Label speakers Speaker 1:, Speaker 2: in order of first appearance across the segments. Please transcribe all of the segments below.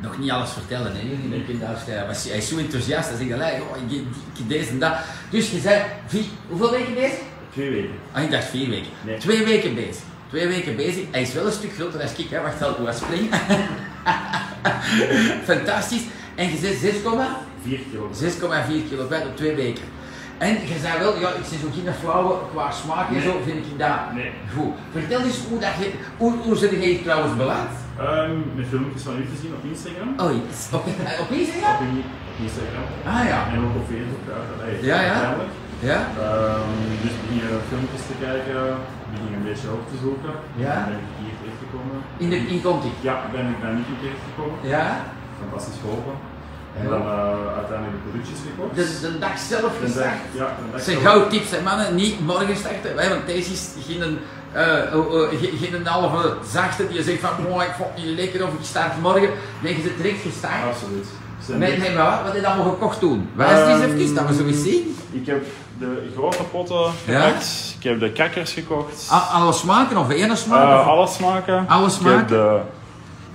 Speaker 1: nog niet alles vertellen, hè, jullie. Dan kun je als je- hij was- hij is zo enthousiast, hij zegt dan, hey, oh, ik, ik, ik deze en dat. Dus je zei, vier, hoeveel weken bezig?
Speaker 2: Twee weken.
Speaker 1: Ah, ik dacht vier weken.
Speaker 2: Nee.
Speaker 1: Twee weken bezig. Twee weken bezig. Hij is wel een stuk groter dan ik, hè. Wacht, zal ik wat springen? Fantastisch. En je zegt 6, komma?
Speaker 2: Vier kilometer.
Speaker 1: 6,4 kilo vet op twee weken. En je zei wel, ja, ik zie zo geen flauwe qua smaak en
Speaker 2: Nee.
Speaker 1: zo, vind ik dat
Speaker 2: Nee.
Speaker 1: goed. Vertel eens hoe dat je, hoe, hoe zit je hier trouwens beland?
Speaker 2: Ehm, met filmpjes van u te zien op Instagram.
Speaker 1: Oh, yes. op, op Instagram?
Speaker 2: Op in- op Instagram.
Speaker 1: Ah ja.
Speaker 2: En ook op Facebook, uiteraard.
Speaker 1: Ja, ja.
Speaker 2: Uiteindelijk.
Speaker 1: Ja?
Speaker 2: Ehm, dus begin je filmpjes te kijken, begin je een beetje op te zoeken.
Speaker 1: Ja.
Speaker 2: Dan ben ik hier terechtgekomen.
Speaker 1: In, de, in Conti?
Speaker 2: Ja, ben ik bij Nicky terechtgekomen.
Speaker 1: Ja?
Speaker 2: Fantastisch geholpen. En
Speaker 1: Ja.
Speaker 2: dan eh, uiteindelijk de productjes gekocht.
Speaker 1: De, de dag zelf
Speaker 2: Dan
Speaker 1: gestart?
Speaker 2: dacht- ja, dan
Speaker 1: Dat
Speaker 2: dacht
Speaker 1: Dus zijn
Speaker 2: ik-
Speaker 1: gouden tips, hè, mannen. Niet morgen starten, hè, want deze is geen, eh, oh, eh, ge- geen halve zachte die je zegt van, oh, ik vond het niet lekker of ik start morgen. Nee, je zit direct gestart.
Speaker 2: Absoluut. Ze zijn
Speaker 1: Nee,
Speaker 2: echt-
Speaker 1: nee, maar wat, wat heb je allemaal gekocht toen? Wijs het eens
Speaker 2: Ehm,
Speaker 1: even, dat we zo eens zien.
Speaker 2: Ik heb de grote potten gepakt. Ik heb de kakkers gekocht.
Speaker 1: A- Alle smaken of ene smaak?
Speaker 2: Eh,
Speaker 1: of-
Speaker 2: alles maken.
Speaker 1: Alle
Speaker 2: Ik
Speaker 1: smaken?
Speaker 2: heb de,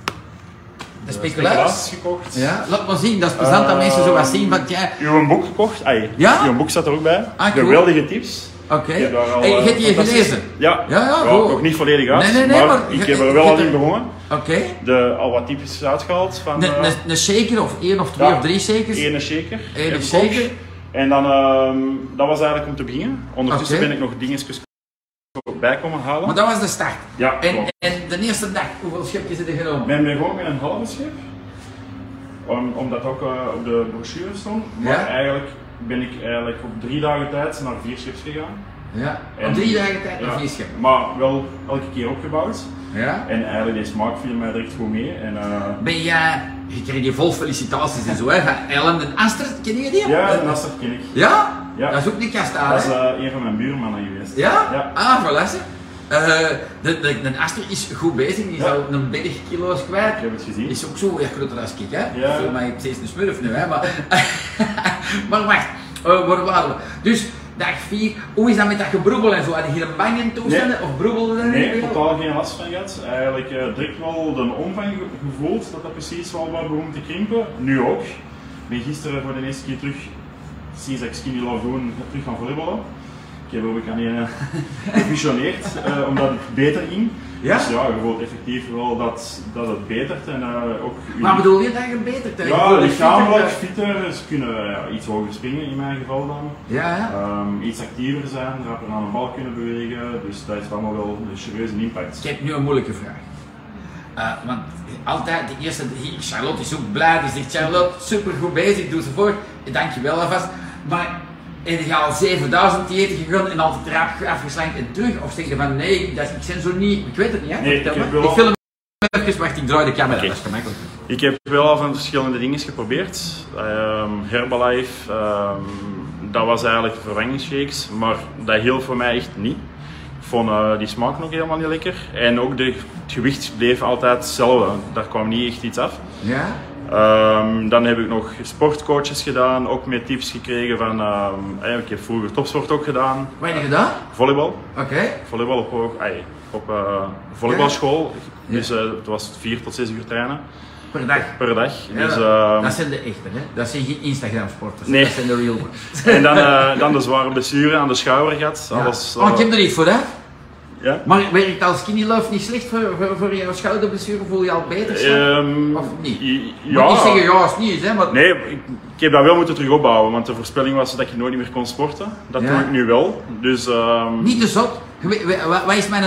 Speaker 1: de
Speaker 2: de
Speaker 1: speculaas?
Speaker 2: speculaas gekocht.
Speaker 1: Ja, laat maar zien. Dat is plezant dat
Speaker 2: Ehm,
Speaker 1: mensen zo wat zien van, ja,
Speaker 2: Uw boek gekocht. Ai,
Speaker 1: Ja?
Speaker 2: Uw boek staat er ook bij.
Speaker 1: Ah, cool.
Speaker 2: Geweldige tips.
Speaker 1: oké.
Speaker 2: Ik heb daar al,
Speaker 1: Hey, je
Speaker 2: eh,
Speaker 1: hebt die
Speaker 2: fantastische-
Speaker 1: gelezen?
Speaker 2: Ja.
Speaker 1: Ja, ja,
Speaker 2: Wel,
Speaker 1: goed.
Speaker 2: Nog niet volledig uit,
Speaker 1: Nee, nee, nee,
Speaker 2: maar,
Speaker 1: maar
Speaker 2: ik
Speaker 1: je-
Speaker 2: heb er
Speaker 1: je-
Speaker 2: wel
Speaker 1: je-
Speaker 2: al in begonnen.
Speaker 1: Oké.
Speaker 2: De, al wat types uitgehaald. Van,
Speaker 1: Een-
Speaker 2: eh,
Speaker 1: Een een shaker of één of twee
Speaker 2: ja,
Speaker 1: of drie shakers?
Speaker 2: Ene shaker.
Speaker 1: Ene
Speaker 2: heb ik
Speaker 1: shaker.
Speaker 2: ook. En dan, ehm, dat was eigenlijk om te beginnen. Ondertussen
Speaker 1: Oké.
Speaker 2: ben ik nog dingetjes bij komen halen.
Speaker 1: Maar dat was de start.
Speaker 2: Ja,
Speaker 1: En,
Speaker 2: klopt.
Speaker 1: en de eerste dag, hoeveel schepjes heb je genomen?
Speaker 2: Men begon met een halve schip, om, omdat ook eh, op de brochure stond. Maar
Speaker 1: Ja.
Speaker 2: eigenlijk ben ik eigenlijk op drie dagen tijd naar vier schips gegaan.
Speaker 1: Ja.
Speaker 2: En-
Speaker 1: Op drie dagen tijd
Speaker 2: Ja,
Speaker 1: nog vier schepen.
Speaker 2: Maar wel elke keer opgebouwd.
Speaker 1: Ja.
Speaker 2: En eigenlijk die smaak viel mij direct goed mee. En, eh,
Speaker 1: Ben jij, je kreeg die vol felicitaties en zo, hè, van Ellen en Astrid, ken je die? Eh,
Speaker 2: ja, en dat ken ik.
Speaker 1: Ja?
Speaker 2: Ja.
Speaker 1: Dat is ook een
Speaker 2: Dat is
Speaker 1: kastade.
Speaker 2: eh, een van mijn buurmannen geweest.
Speaker 1: Ja?
Speaker 2: Ja.
Speaker 1: Ah, voilà. ze. Eh, de, de, de Aster is goed bezig, die is
Speaker 2: Ja.
Speaker 1: al een 30 kilo's kwijt.
Speaker 2: Ik heb het gezien.
Speaker 1: Is ook zo erg groter als ik, hè?
Speaker 2: Ja.
Speaker 1: Voor mij steeds een smurf nu, hè? Maar, maar wacht, eh, waar waren we? Dus dag 4, hoe is dat met dat gebroebel en zo? Had je hier een bang in toestanden of broebelde er
Speaker 2: Nee,
Speaker 1: niet meer?
Speaker 2: totaal geen last van gehad. Eigenlijk eh, direct wel de omvang ge- gevoeld, dat dat precies wel wat begon te krimpen. Nu ook. Ik ben gisteren voor de eerste keer terug, sinds dat ik skinny love doen, terug gaan volleyballen. Ik heb ook aan die eh, gefusioneerd, eh, omdat het beter ging.
Speaker 1: Ja?
Speaker 2: Dus ja, je voelt effectief wel dat, dat het betert en eh, ook... je-
Speaker 1: Maar bedoel je dat gebeterd? hè? Ik
Speaker 2: Ja,
Speaker 1: bedoel, ik vind dat-
Speaker 2: lichamelijk fitter, ze kunnen ja, iets hoger springen in mijn geval dan.
Speaker 1: Ja, ja.
Speaker 2: Ehm, iets actiever zijn, rapper aan een bal kunnen bewegen, dus dat heeft allemaal wel een serieuze impact.
Speaker 1: Ik heb nu een moeilijke vraag. Eh, want altijd, de eerste, hier, Charlotte is ook blij, die zegt Charlotte, supergoed bezig, doe ze voort. Dankjewel alvast. Maar heb je al 7000 diëten gegaan en altijd raap afgeslankt en terug? Of zeg je van nee, dat, ik ben zo niet, ik weet het niet. Hè?
Speaker 2: Nee,
Speaker 1: Vertel
Speaker 2: ik heb
Speaker 1: maar.
Speaker 2: wel-
Speaker 1: ik film even, wacht, ik draai de camera,
Speaker 2: Oké.
Speaker 1: dat is gemakkelijk.
Speaker 2: Ik heb wel al van verschillende dingen geprobeerd. Ehm, Herbalife, ehm, dat was eigenlijk vervangingsshakes, maar dat hielp voor mij echt niet. Ik vond eh, die smaak nog helemaal niet lekker. En ook de, het gewicht bleef altijd hetzelfde, daar kwam niet echt iets af.
Speaker 1: Ja?
Speaker 2: Ehm, dan heb ik nog sportcoaches gedaan, ook met tips gekregen van... ehm, eh, ik heb vroeger topsport ook gedaan,
Speaker 1: Wat heb je gedaan?
Speaker 2: volleybal.
Speaker 1: Oké.
Speaker 2: volleybal op, hoog- ai, op eh, volleybalschool. Dus eh, het was vier tot zes uur trainen
Speaker 1: Per dag.
Speaker 2: per dag.
Speaker 1: Ja,
Speaker 2: dus, ehm,
Speaker 1: dat zijn de echte, hè? dat zijn geen Instagram-sporters,
Speaker 2: Nee.
Speaker 1: dat zijn de real ones.
Speaker 2: en dan, eh, dan de zware blessure aan de schouder gehad. Alles,
Speaker 1: Ja. Oh, ik
Speaker 2: eh,
Speaker 1: heb er iets voor, hè?
Speaker 2: ja?
Speaker 1: Maar werkt als skinny love niet slecht voor, voor, voor je schouderblessure? Voel je al beter? snap?
Speaker 2: Ehm,
Speaker 1: Of niet?
Speaker 2: i-
Speaker 1: Ik Moet niet zeggen
Speaker 2: Ja.
Speaker 1: ja of niet, hè? Maar...
Speaker 2: Nee, ik, ik heb dat wel moeten terug opbouwen, want de voorspelling was dat ik nooit meer kon sporten. Dat
Speaker 1: Ja.
Speaker 2: doe ik nu wel. Dus ehm,
Speaker 1: Niet te zot. Je weet- we- wa- Wat is mijn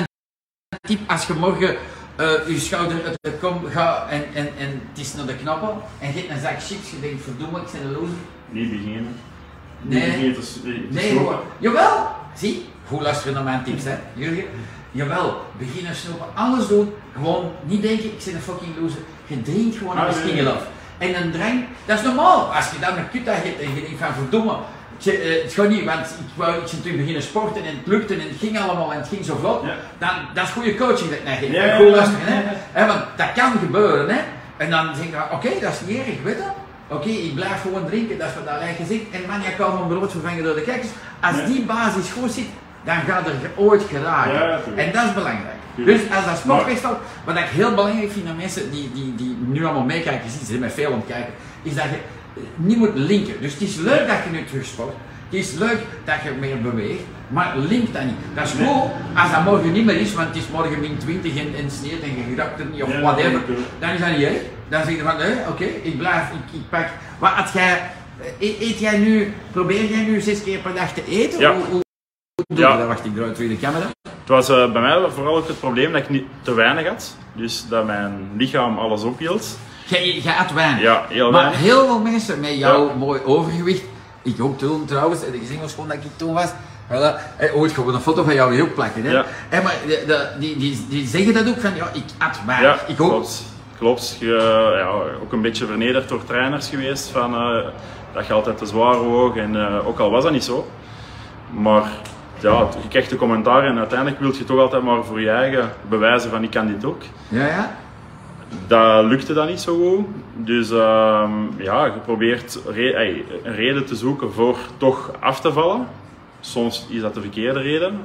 Speaker 1: tip als je morgen eh, je schouder uit de kom gaat en, en, en het is naar de knappen en je hebt een zak chips, je denkt verdomme, ik ben een loser.
Speaker 2: niet beginnen.
Speaker 1: Nee.
Speaker 2: Niet beginnen te, s- eh, te
Speaker 1: Nee,
Speaker 2: snoepen.
Speaker 1: hoor. Jawel! Zie, goed luisteren naar mijn tips, hè, Jurgen? Jawel, beginnen snoepen, alles doen. Gewoon niet denken, ik ben een fucking loser. Je drinkt gewoon
Speaker 2: Ah,
Speaker 1: een
Speaker 2: nee,
Speaker 1: skinny
Speaker 2: nee.
Speaker 1: love. En een drank, dat is normaal. Als je dan een kut hebt en je denkt van verdomme, ik zeg, eh, het gaat niet, want ik wou ik ben terug beginnen sporten en het lukte en het ging allemaal en het ging zo vlot.
Speaker 2: Ja.
Speaker 1: Dan, dat is goede coaching dat ik naar geef.
Speaker 2: Ja, ja,
Speaker 1: Goed
Speaker 2: ja.
Speaker 1: luisteren, hè. Hè, want dat kan gebeuren, hè. En dan denk ik, oké, dat is niet erg, weet je. Oké, ik blijf gewoon drinken, dat is wat dat eigen zit. En man, je kan mijn brood vervangen door de kijkers. Als
Speaker 2: Ja.
Speaker 1: die basis goed zit, dan gaat er ooit geraken.
Speaker 2: Ja, natuurlijk.
Speaker 1: en dat is belangrijk. Dus als dat
Speaker 2: Maar-
Speaker 1: sportfestival, wat ik heel belangrijk vind aan mensen die, die, die nu allemaal meekijken, je ziet ze zijn met veel om het kijken, is dat je eh, niet moet linken. Dus het is leuk dat je nu terug sport, het is leuk dat je meer beweegt, maar link dat niet. Dat is
Speaker 2: Nee.
Speaker 1: cool als dat morgen niet meer is, want het is morgen min 20 en, en sneeuwt en je raakt er niet of
Speaker 2: Ja,
Speaker 1: whatever,
Speaker 2: dat weet ik ook.
Speaker 1: dan is dat niet erg. Dan zeg je van, nee, oké, ik blijf, ik, ik pak. Wat had jij, eh, eet jij nu, probeer jij nu zes keer per dag te eten?
Speaker 2: Ja.
Speaker 1: Hoe, hoe, hoe doe je
Speaker 2: Ja.
Speaker 1: dat? Wacht, ik draai terug de camera.
Speaker 2: Het was eh, bij mij vooral ook het probleem dat ik niet te weinig had. Dus dat mijn lichaam alles ophield.
Speaker 1: Jij, jij at weinig.
Speaker 2: Ja, heel
Speaker 1: maar
Speaker 2: weinig.
Speaker 1: heel veel mensen met jouw
Speaker 2: Ja.
Speaker 1: mooi overgewicht, ik ook toen trouwens, en ik zeg maar schoon dat ik toen was, voilà, oh, en ooit gewoon een foto van jou weer plakken. Hè?
Speaker 2: Ja.
Speaker 1: En maar de- de- die, die, die zeggen dat ook van, ja, ik at
Speaker 2: Ja,
Speaker 1: weinig. ik ook.
Speaker 2: klopt. Klopt. Je, ja, ook een beetje vernederd door trainers geweest van eh, dat je altijd te zwaar woog. En eh, ook al was dat niet zo. Maar ja, je krijgt de commentaar en uiteindelijk wil je toch altijd maar voor je eigen bewijzen van ik kan dit ook.
Speaker 1: Ja, ja.
Speaker 2: Dat lukte dan niet zo goed. Dus ehm, ja, je probeert re- ey, een reden te zoeken voor toch af te vallen. Soms is dat de verkeerde reden.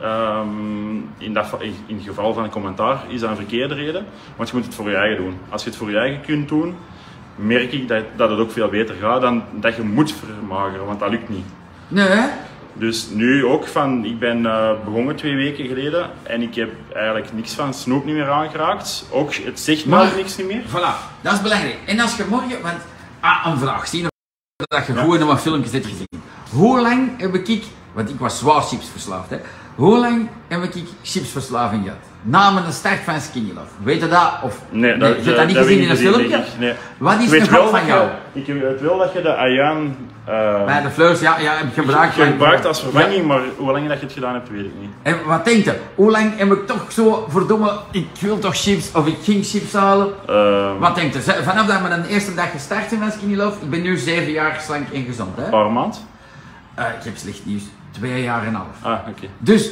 Speaker 2: Ehm, in, dat, va- in in het geval van een commentaar is dat een verkeerde reden. Want je moet het voor je eigen doen. Als je het voor je eigen kunt doen, merk ik dat, dat het ook veel beter gaat dan dat je moet vermageren, want dat lukt niet.
Speaker 1: Nee, hè?
Speaker 2: Dus nu ook van, ik ben eh, begonnen twee weken geleden en ik heb eigenlijk niks van snoep niet meer aangeraakt. Ook het zegt maar
Speaker 1: Maar-
Speaker 2: niks niet meer.
Speaker 1: Voilà, dat is belangrijk. En als je morgen, want, ah, een vraag, zien of dat je gewoon nog wat filmpjes hebt gezien. Hoe lang heb ik, want ik was zwaar chipsverslaafd, hè. Hoe lang heb ik chipsverslaving gehad? Na mijn start van Skinny Love. Weet je dat? Of,
Speaker 2: Nee,
Speaker 1: je hebt dat niet
Speaker 2: heb
Speaker 1: gezien
Speaker 2: ik
Speaker 1: in een
Speaker 2: denk
Speaker 1: filmpje?
Speaker 2: ik. Nee.
Speaker 1: Wat is
Speaker 2: Ik
Speaker 1: de
Speaker 2: weet
Speaker 1: grap
Speaker 2: wel dat
Speaker 1: van jou?
Speaker 2: je, ik weet wel dat je de Ayan eh,
Speaker 1: Bij de fleurs, ja, ja, heb ik gebruikt. maar-
Speaker 2: gebruikt als
Speaker 1: Ja.
Speaker 2: vervanging, maar hoe lang dat je het gedaan hebt, weet ik niet.
Speaker 1: En wat denkt je? Hoe lang heb ik toch zo, verdomme, ik wil toch chips, of ik ging chips halen?
Speaker 2: Ehm,
Speaker 1: Wat denkt je? Ze- Vanaf dat we de eerste dag gestart zijn met Skinny Love, ik ben nu zeven jaar slank en gezond, hè?
Speaker 2: Een paar maanden?
Speaker 1: Eh, ik heb slecht nieuws. Twee jaar en een half.
Speaker 2: Ah, oké.
Speaker 1: Dus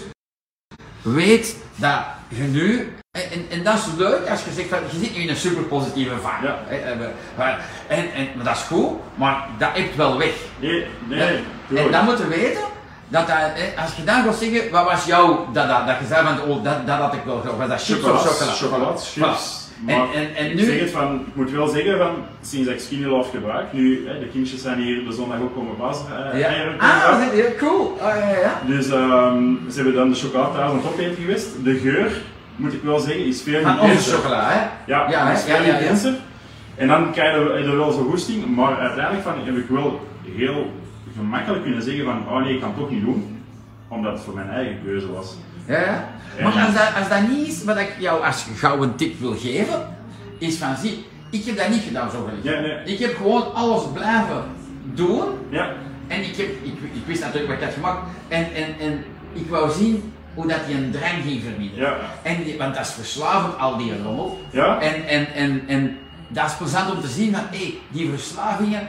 Speaker 1: weet dat je nu. En, en, en dat is leuk als je zegt van je zit nu in een super positieve vibe.
Speaker 2: Ja.
Speaker 1: Hè, eh, we- maar- En, en, maar dat is goed, maar dat hebt wel weg.
Speaker 2: Nee,
Speaker 1: Hè?
Speaker 2: nee.
Speaker 1: en
Speaker 2: tuurlijk.
Speaker 1: dan moeten we weten dat, eh, dat hè, als je dan gaat zeggen, wat was jouw dat, dat, dat je zei van oh, dat, dat had ik wel graag. Was dat chips
Speaker 2: Chocolat,
Speaker 1: of chocola?
Speaker 2: chocolat,
Speaker 1: Voilà.
Speaker 2: chips.
Speaker 1: Voilà.
Speaker 2: Maar
Speaker 1: En, en, en
Speaker 2: ik, zeg
Speaker 1: nu,
Speaker 2: het van, ik moet wel zeggen, van, sinds dat ik Skinny Love gebruik, nu, hè, de kindjes zijn hier de zondag ook komen bazen. eh,
Speaker 1: ja.
Speaker 2: eieren komen
Speaker 1: Ah,
Speaker 2: bazen.
Speaker 1: dat is- ja, cool. Ah, ja, ja, ja.
Speaker 2: Dus ehm, ze hebben dan de chocolade thuis aan het opeten geweest. De geur, moet ik wel zeggen, is veel
Speaker 1: Van onze
Speaker 2: intenser.
Speaker 1: chocola, hè?
Speaker 2: Ja,
Speaker 1: hè,
Speaker 2: is veel intenser. En dan krijg je, heb je wel zo'n goesting, maar uiteindelijk van, heb ik wel heel gemakkelijk kunnen zeggen van, oh nee, ik kan het toch niet doen. Omdat het voor mijn eigen keuze was.
Speaker 1: Ja, ja. Maar als dat, als dat niet is wat ik jou als gouden tip wil geven, is van zie, ik heb dat niet gedaan zo geliefd.
Speaker 2: Ja, nee.
Speaker 1: Ik heb gewoon alles blijven doen
Speaker 2: Ja,
Speaker 1: en ik, heb, ik, ik wist natuurlijk wat ik had gemaakt en, en, en ik wou zien hoe dat die een drang ging verminderen.
Speaker 2: Ja.
Speaker 1: En die- want dat is verslavend, al die rommel.
Speaker 2: Ja.
Speaker 1: En, en, en, en dat is plezant om te zien dat hé, die verslavingen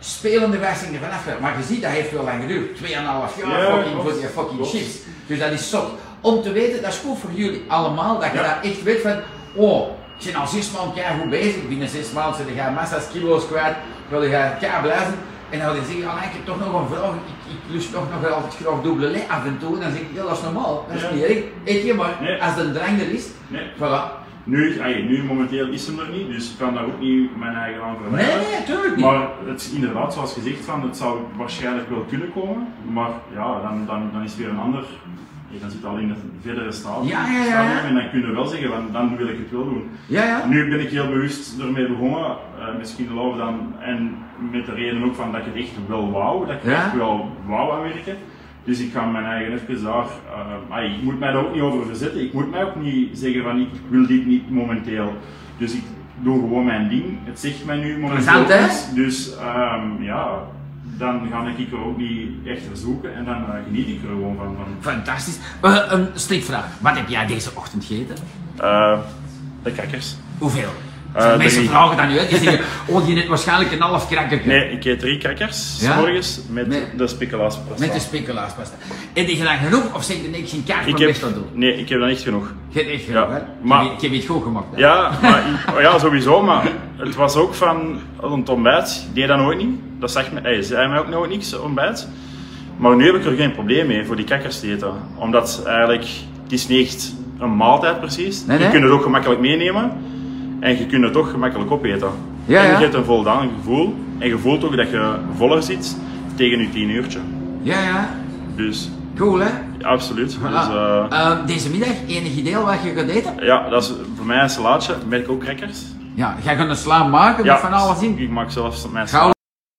Speaker 1: spelende wijzingen vanaf. werden. Maar je ziet, dat heeft wel lang geduurd. 2,5 jaar
Speaker 2: Ja,
Speaker 1: fucking,
Speaker 2: klopt.
Speaker 1: voor die fucking
Speaker 2: Klopt.
Speaker 1: chips. Dus dat is zot. Om te weten, dat is goed voor jullie allemaal, dat je
Speaker 2: Ja.
Speaker 1: dat echt weet van, oh, ik ben al zes maanden keihard goed bezig, binnen zes maanden zijn je massa's kilo's kwijt, wil je keihard blijven. En dan wil je zeggen, "Allee, ik heb toch nog een vraag, ik, ik lust toch nog wel altijd graag dubbele lei af en toe. En dan zeg ik, ja, dat is normaal, dat is
Speaker 2: Ja.
Speaker 1: niet erg. Eet je maar,
Speaker 2: Nee.
Speaker 1: als de drang er is,
Speaker 2: nee.
Speaker 1: voilà.
Speaker 2: Nu, ay, nu momenteel is hem er niet, dus ik kan daar ook niet mijn eigen aan verwijten.
Speaker 1: Nee, nee, tuurlijk niet.
Speaker 2: Maar het is inderdaad, zoals gezegd, van, het zou waarschijnlijk wel kunnen komen, maar ja, dan, dan, dan is weer een ander. hey, Dan zit het al in het verdere stadium.
Speaker 1: Ja, ja, ja, ja.
Speaker 2: stadium En dan kunnen we wel zeggen, van, dan wil ik het wel doen.
Speaker 1: Ja, ja.
Speaker 2: Nu ben ik heel bewust ermee begonnen, eh, misschien de loop dan, en met de reden ook van dat ik het echt wel wou, dat ik er
Speaker 1: Ja.
Speaker 2: echt wel wou aan werken. Dus ik ga mijn eigen even daar, eh, maar ik moet mij daar ook niet over verzetten, ik moet mij ook niet zeggen van ik wil dit niet momenteel. Dus ik doe gewoon mijn ding, het zegt mij nu momenteel
Speaker 1: Plezant, hè?
Speaker 2: niks. Dus ehm, ja, dan ga ik er ook niet echt zoeken en dan eh, geniet ik er gewoon van. van.
Speaker 1: Fantastisch. Eh, een strikvraag. Wat heb jij deze ochtend gegeten?
Speaker 2: Eh, de kakkers.
Speaker 1: Hoeveel?
Speaker 2: Eh,
Speaker 1: Zijn mensen
Speaker 2: drie.
Speaker 1: vragen dat nu uit. Die zeggen, oh, die net waarschijnlijk een half krakker.
Speaker 2: Nee, ik eet drie krakkers,
Speaker 1: Ja?
Speaker 2: s morgens, met
Speaker 1: Nee.
Speaker 2: de speculaaspresta.
Speaker 1: Met de speculaaspasta. En die gedaan genoeg? Of zeg je, nee, ik geen kaart
Speaker 2: Ik
Speaker 1: van
Speaker 2: heb,
Speaker 1: best aan doen?
Speaker 2: nee, ik heb dat niet genoeg.
Speaker 1: Geen echt
Speaker 2: Ja,
Speaker 1: genoeg, hè? Ik
Speaker 2: maar-
Speaker 1: heb- Ik heb het goed gemaakt. hè?
Speaker 2: Ja, maar, ik- oh ja, sowieso, maar het was ook van een ontbijt. Ik deed dat nooit niet. Dat zegt mij, hey, zei mij ook nooit niks, ontbijt. Maar nu heb ik er geen probleem mee voor die kakkers te eten. Omdat eigenlijk, het is niet echt een maaltijd precies.
Speaker 1: Nee, nee.
Speaker 2: Je kunt het ook gemakkelijk meenemen en je kunt het ook gemakkelijk opeten.
Speaker 1: Ja,
Speaker 2: en je
Speaker 1: ja.
Speaker 2: hebt een voldaan gevoel en je voelt ook dat je voller zit tegen je tien uurtje.
Speaker 1: Ja, ja.
Speaker 2: Dus
Speaker 1: Cool, hè?
Speaker 2: absoluut. Dus, eh,
Speaker 1: Ah, eh, deze middag, enig idee al wat je gaat eten?
Speaker 2: ja, dat is voor mij een salaatje. Merk ook crackers.
Speaker 1: Ja, jij gaat een sla maken
Speaker 2: Ja,
Speaker 1: met van alles in.
Speaker 2: Ik maak zelfs mijn
Speaker 1: Gauw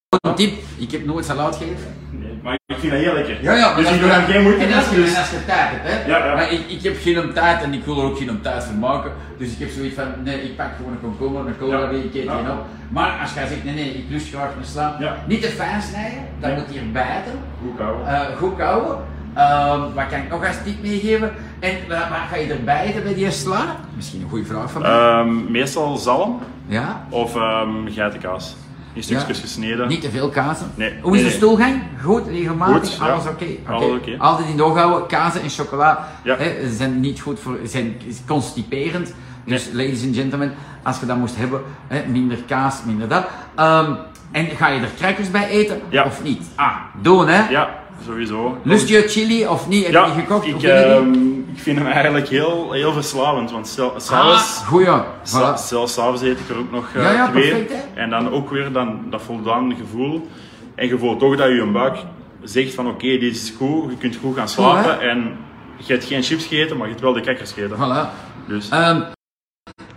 Speaker 1: een tip, ik heb nooit salaat gegeten.
Speaker 2: Nee, maar ik vind dat heel lekker.
Speaker 1: Ja, ja, maar
Speaker 2: dus
Speaker 1: dat is
Speaker 2: ik doe daar geen moeite
Speaker 1: en
Speaker 2: mee.
Speaker 1: als, je,
Speaker 2: Dus...
Speaker 1: en als je tijd hebt, hè?
Speaker 2: Ja, ja.
Speaker 1: Maar ik, ik heb geen tijd en ik wil er ook geen tijd voor maken. Dus ik heb zoiets van: nee, ik pak gewoon een komkommer, een cola,
Speaker 2: Ja.
Speaker 1: die ik eet
Speaker 2: Ja.
Speaker 1: geen op. Maar als jij zegt: nee, nee, ik lust graag een sla.
Speaker 2: Ja.
Speaker 1: Niet te fijn snijden, dan
Speaker 2: Nee.
Speaker 1: moet je er bijten.
Speaker 2: Goed houden.
Speaker 1: Eh, goed kouwen. Ehm, wat kan ik nog als tip meegeven? En eh, wat ga je erbij eten bij die sla? Misschien een goede vraag van mij.
Speaker 2: Ehm, meestal zalm
Speaker 1: ja?
Speaker 2: of ehm geitenkaas. In stukjes
Speaker 1: Ja.
Speaker 2: Eh, gesneden.
Speaker 1: Niet te veel kazen.
Speaker 2: Nee,
Speaker 1: Hoe is
Speaker 2: nee,
Speaker 1: de
Speaker 2: nee.
Speaker 1: stoelgang? Goed, regelmatig,
Speaker 2: Goed, ja.
Speaker 1: alles oké. Oké.
Speaker 2: Alles oké.
Speaker 1: Altijd in de oog houden, kazen en chocola
Speaker 2: Ja.
Speaker 1: hè, zijn niet goed voor, zijn constiperend. Dus ladies and gentlemen, als je dat moest hebben, hè, minder kaas, minder dat. Ehm, en ga je er crackers bij eten
Speaker 2: Ja.
Speaker 1: of niet? Ah, doen hè.
Speaker 2: Ja, sowieso.
Speaker 1: Lust je chili of niet? Heb
Speaker 2: ja,
Speaker 1: je die gekocht?
Speaker 2: Ik,
Speaker 1: Of ken je die?
Speaker 2: ehm, ik vind hem eigenlijk heel, heel verslavend, want stel- s'avonds...
Speaker 1: Ah, goeie.
Speaker 2: sa-
Speaker 1: Voilà.
Speaker 2: Zelfs s'avonds eet ik er ook nog eh,
Speaker 1: Ja, ja,
Speaker 2: twee.
Speaker 1: perfect, hè?
Speaker 2: en dan ook weer dan, dat voldaan gevoel. En je voelt toch dat je een buik zegt van oké, dit is goed, je kunt goed gaan slapen.
Speaker 1: Goed,
Speaker 2: en je hebt geen chips gegeten, maar je hebt wel de crackers gegeten.
Speaker 1: Voilà.
Speaker 2: Dus,
Speaker 1: Ehm,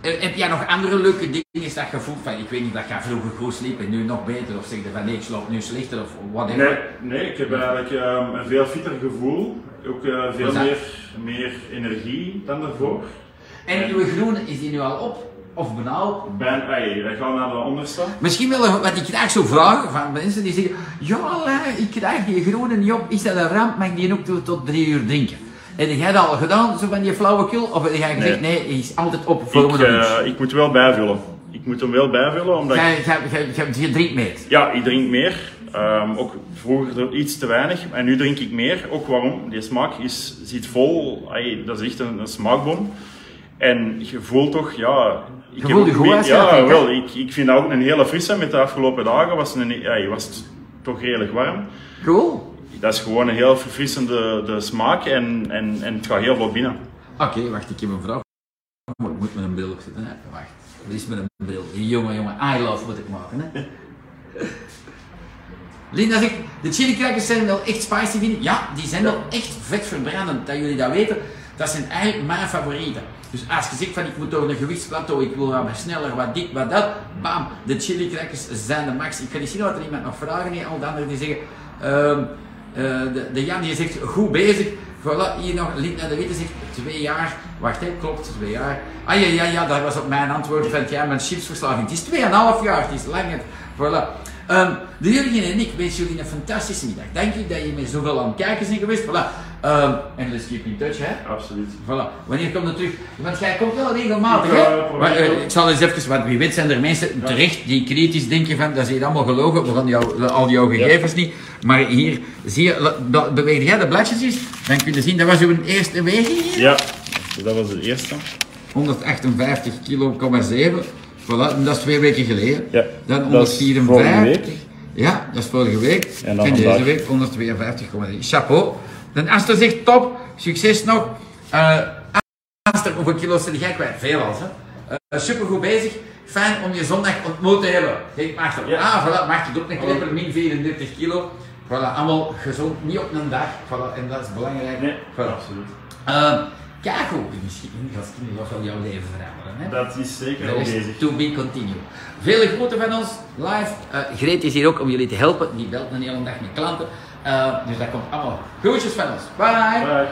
Speaker 1: eh, heb jij nog andere leuke dingen dat je voelt van, ik weet niet, dat jij vroeger goed sliep en nu nog beter, of zeg je van nee, ik slaap nu slechter, of whatever.
Speaker 2: nee, nee, ik heb eigenlijk ehm, een veel fitter gevoel. Ook eh, veel
Speaker 1: Wat is dat?
Speaker 2: meer, meer energie dan daarvoor.
Speaker 1: En uw groene, is die nu al op? Of benauwd?
Speaker 2: Ben, ey, wij gaan naar de onderste.
Speaker 1: Misschien wel een- wat ik graag zou vragen van mensen die zeggen, ja, eh, ik krijg die groene niet op, is dat een ramp, mag ik die ook tot, tot drie uur drinken? Heb jij dat al gedaan, zo van die flauwekul? Of heb jij gezegd, nee, hij is altijd op voor
Speaker 2: ik,
Speaker 1: me nog
Speaker 2: eh, ik moet wel bijvullen. Ik moet hem wel bijvullen, omdat ik-
Speaker 1: Jij- jij- jij- jij- Je drinkt mee.
Speaker 2: Ja, ik drink meer. Ehm, ook vroeger er iets te weinig. En nu drink ik meer. Ook waarom? Die smaak is, zit vol. Ai, dat is echt een, een smaakbom. En je voelt toch, ja... Ik
Speaker 1: Je voelt je
Speaker 2: ook
Speaker 1: goed
Speaker 2: een
Speaker 1: als
Speaker 2: beetje-
Speaker 1: je dat
Speaker 2: Ja,
Speaker 1: drinkt, hè?
Speaker 2: wel. Ik, ik vind dat ook een hele frisse. Met de afgelopen dagen was het, een, ai, was het toch redelijk warm.
Speaker 1: Cool.
Speaker 2: Dat is gewoon een heel verfrissende de smaak. En, en, en het gaat heel veel binnen.
Speaker 1: Ah, Oké, wacht, ik heb een vraag. Maar ik moet met een bril opzetten. Hè? Wacht, wat is met een bril? Jongen, jongen, I love moet ik maken. Hè? Linda zegt, de chili crackers zijn wel echt spicy, vind ik. Ja, die zijn wel echt vet verbrandend, dat jullie dat weten. Dat zijn eigenlijk mijn favorieten. Dus als je zegt van ik moet door een gewichtsplateau, ik wil wat sneller, wat dit, wat dat, bam, de chili crackers zijn de max. Ik ga niet zien wat er iemand nog vragen heeft, al de anderen die zeggen, ehm, eh, de, de Jan die zegt goed bezig. Voilà, hier nog Linda de Witte zegt twee jaar. Wacht, hè, klopt, twee jaar. Ah ja, ja, ja, dat was op mijn antwoord van ja, mijn chipsverslaving. Het is tweeënhalf jaar, het is lang. Het. Voilà. Ehm, de Jurgen en ik wensen jullie een fantastische middag. Dank u dat je met zoveel aan het kijken bent geweest. Voilà. Ehm, en let's keep in touch, hè.
Speaker 2: Absoluut.
Speaker 1: Voilà. Wanneer komt het terug? Want jij komt wel regelmatig,
Speaker 2: Ik,
Speaker 1: hè?
Speaker 2: eh, probeer
Speaker 1: Maar, eh,
Speaker 2: het.
Speaker 1: ik zal eens even, want wie weet zijn er mensen terecht die kritisch denken van, dat is hier allemaal gelogen, we gaan jou, eh, al jouw gegevens niet. Maar hier, zie je, la- bla- beweeg jij de bladjes eens? Dan kun je zien, dat was uw eerste weging hier.
Speaker 2: Ja, dus dat was de eerste.
Speaker 1: 158 kilo, 7. Voilà, en dat is twee weken geleden.
Speaker 2: Ja,
Speaker 1: Dan
Speaker 2: dat is
Speaker 1: 154.
Speaker 2: vorige week.
Speaker 1: Ja, dat is vorige week.
Speaker 2: En dan
Speaker 1: deze
Speaker 2: vandaag.
Speaker 1: week 152,3. Chapeau. Dan Aster zegt top, succes nog. Eh Aster, hoeveel kilo's zit jij kwijt? Veel als, hè? Eh supergoed bezig. Fijn om je zondag ontmoet te hebben. Denk Martel.
Speaker 2: Ja.
Speaker 1: Ah, voilà, Martel op een klepper, min 34 kilo. Voilà, allemaal gezond, niet op een dag. Voilà, en dat is belangrijk.
Speaker 2: Nee,
Speaker 1: Voilà.
Speaker 2: absoluut.
Speaker 1: Ehm kijk ook, misschien gaat kinderen wel jouw leven veranderen. Hè?
Speaker 2: Dat is zeker
Speaker 1: De
Speaker 2: al
Speaker 1: rest
Speaker 2: bezig.
Speaker 1: to be continued. Vele groeten van ons, live. Eh Greet is hier ook om jullie te helpen. Die belt een hele dag met klanten. Eh, dus dat komt allemaal. Groetjes van ons. Bye.
Speaker 2: Bye.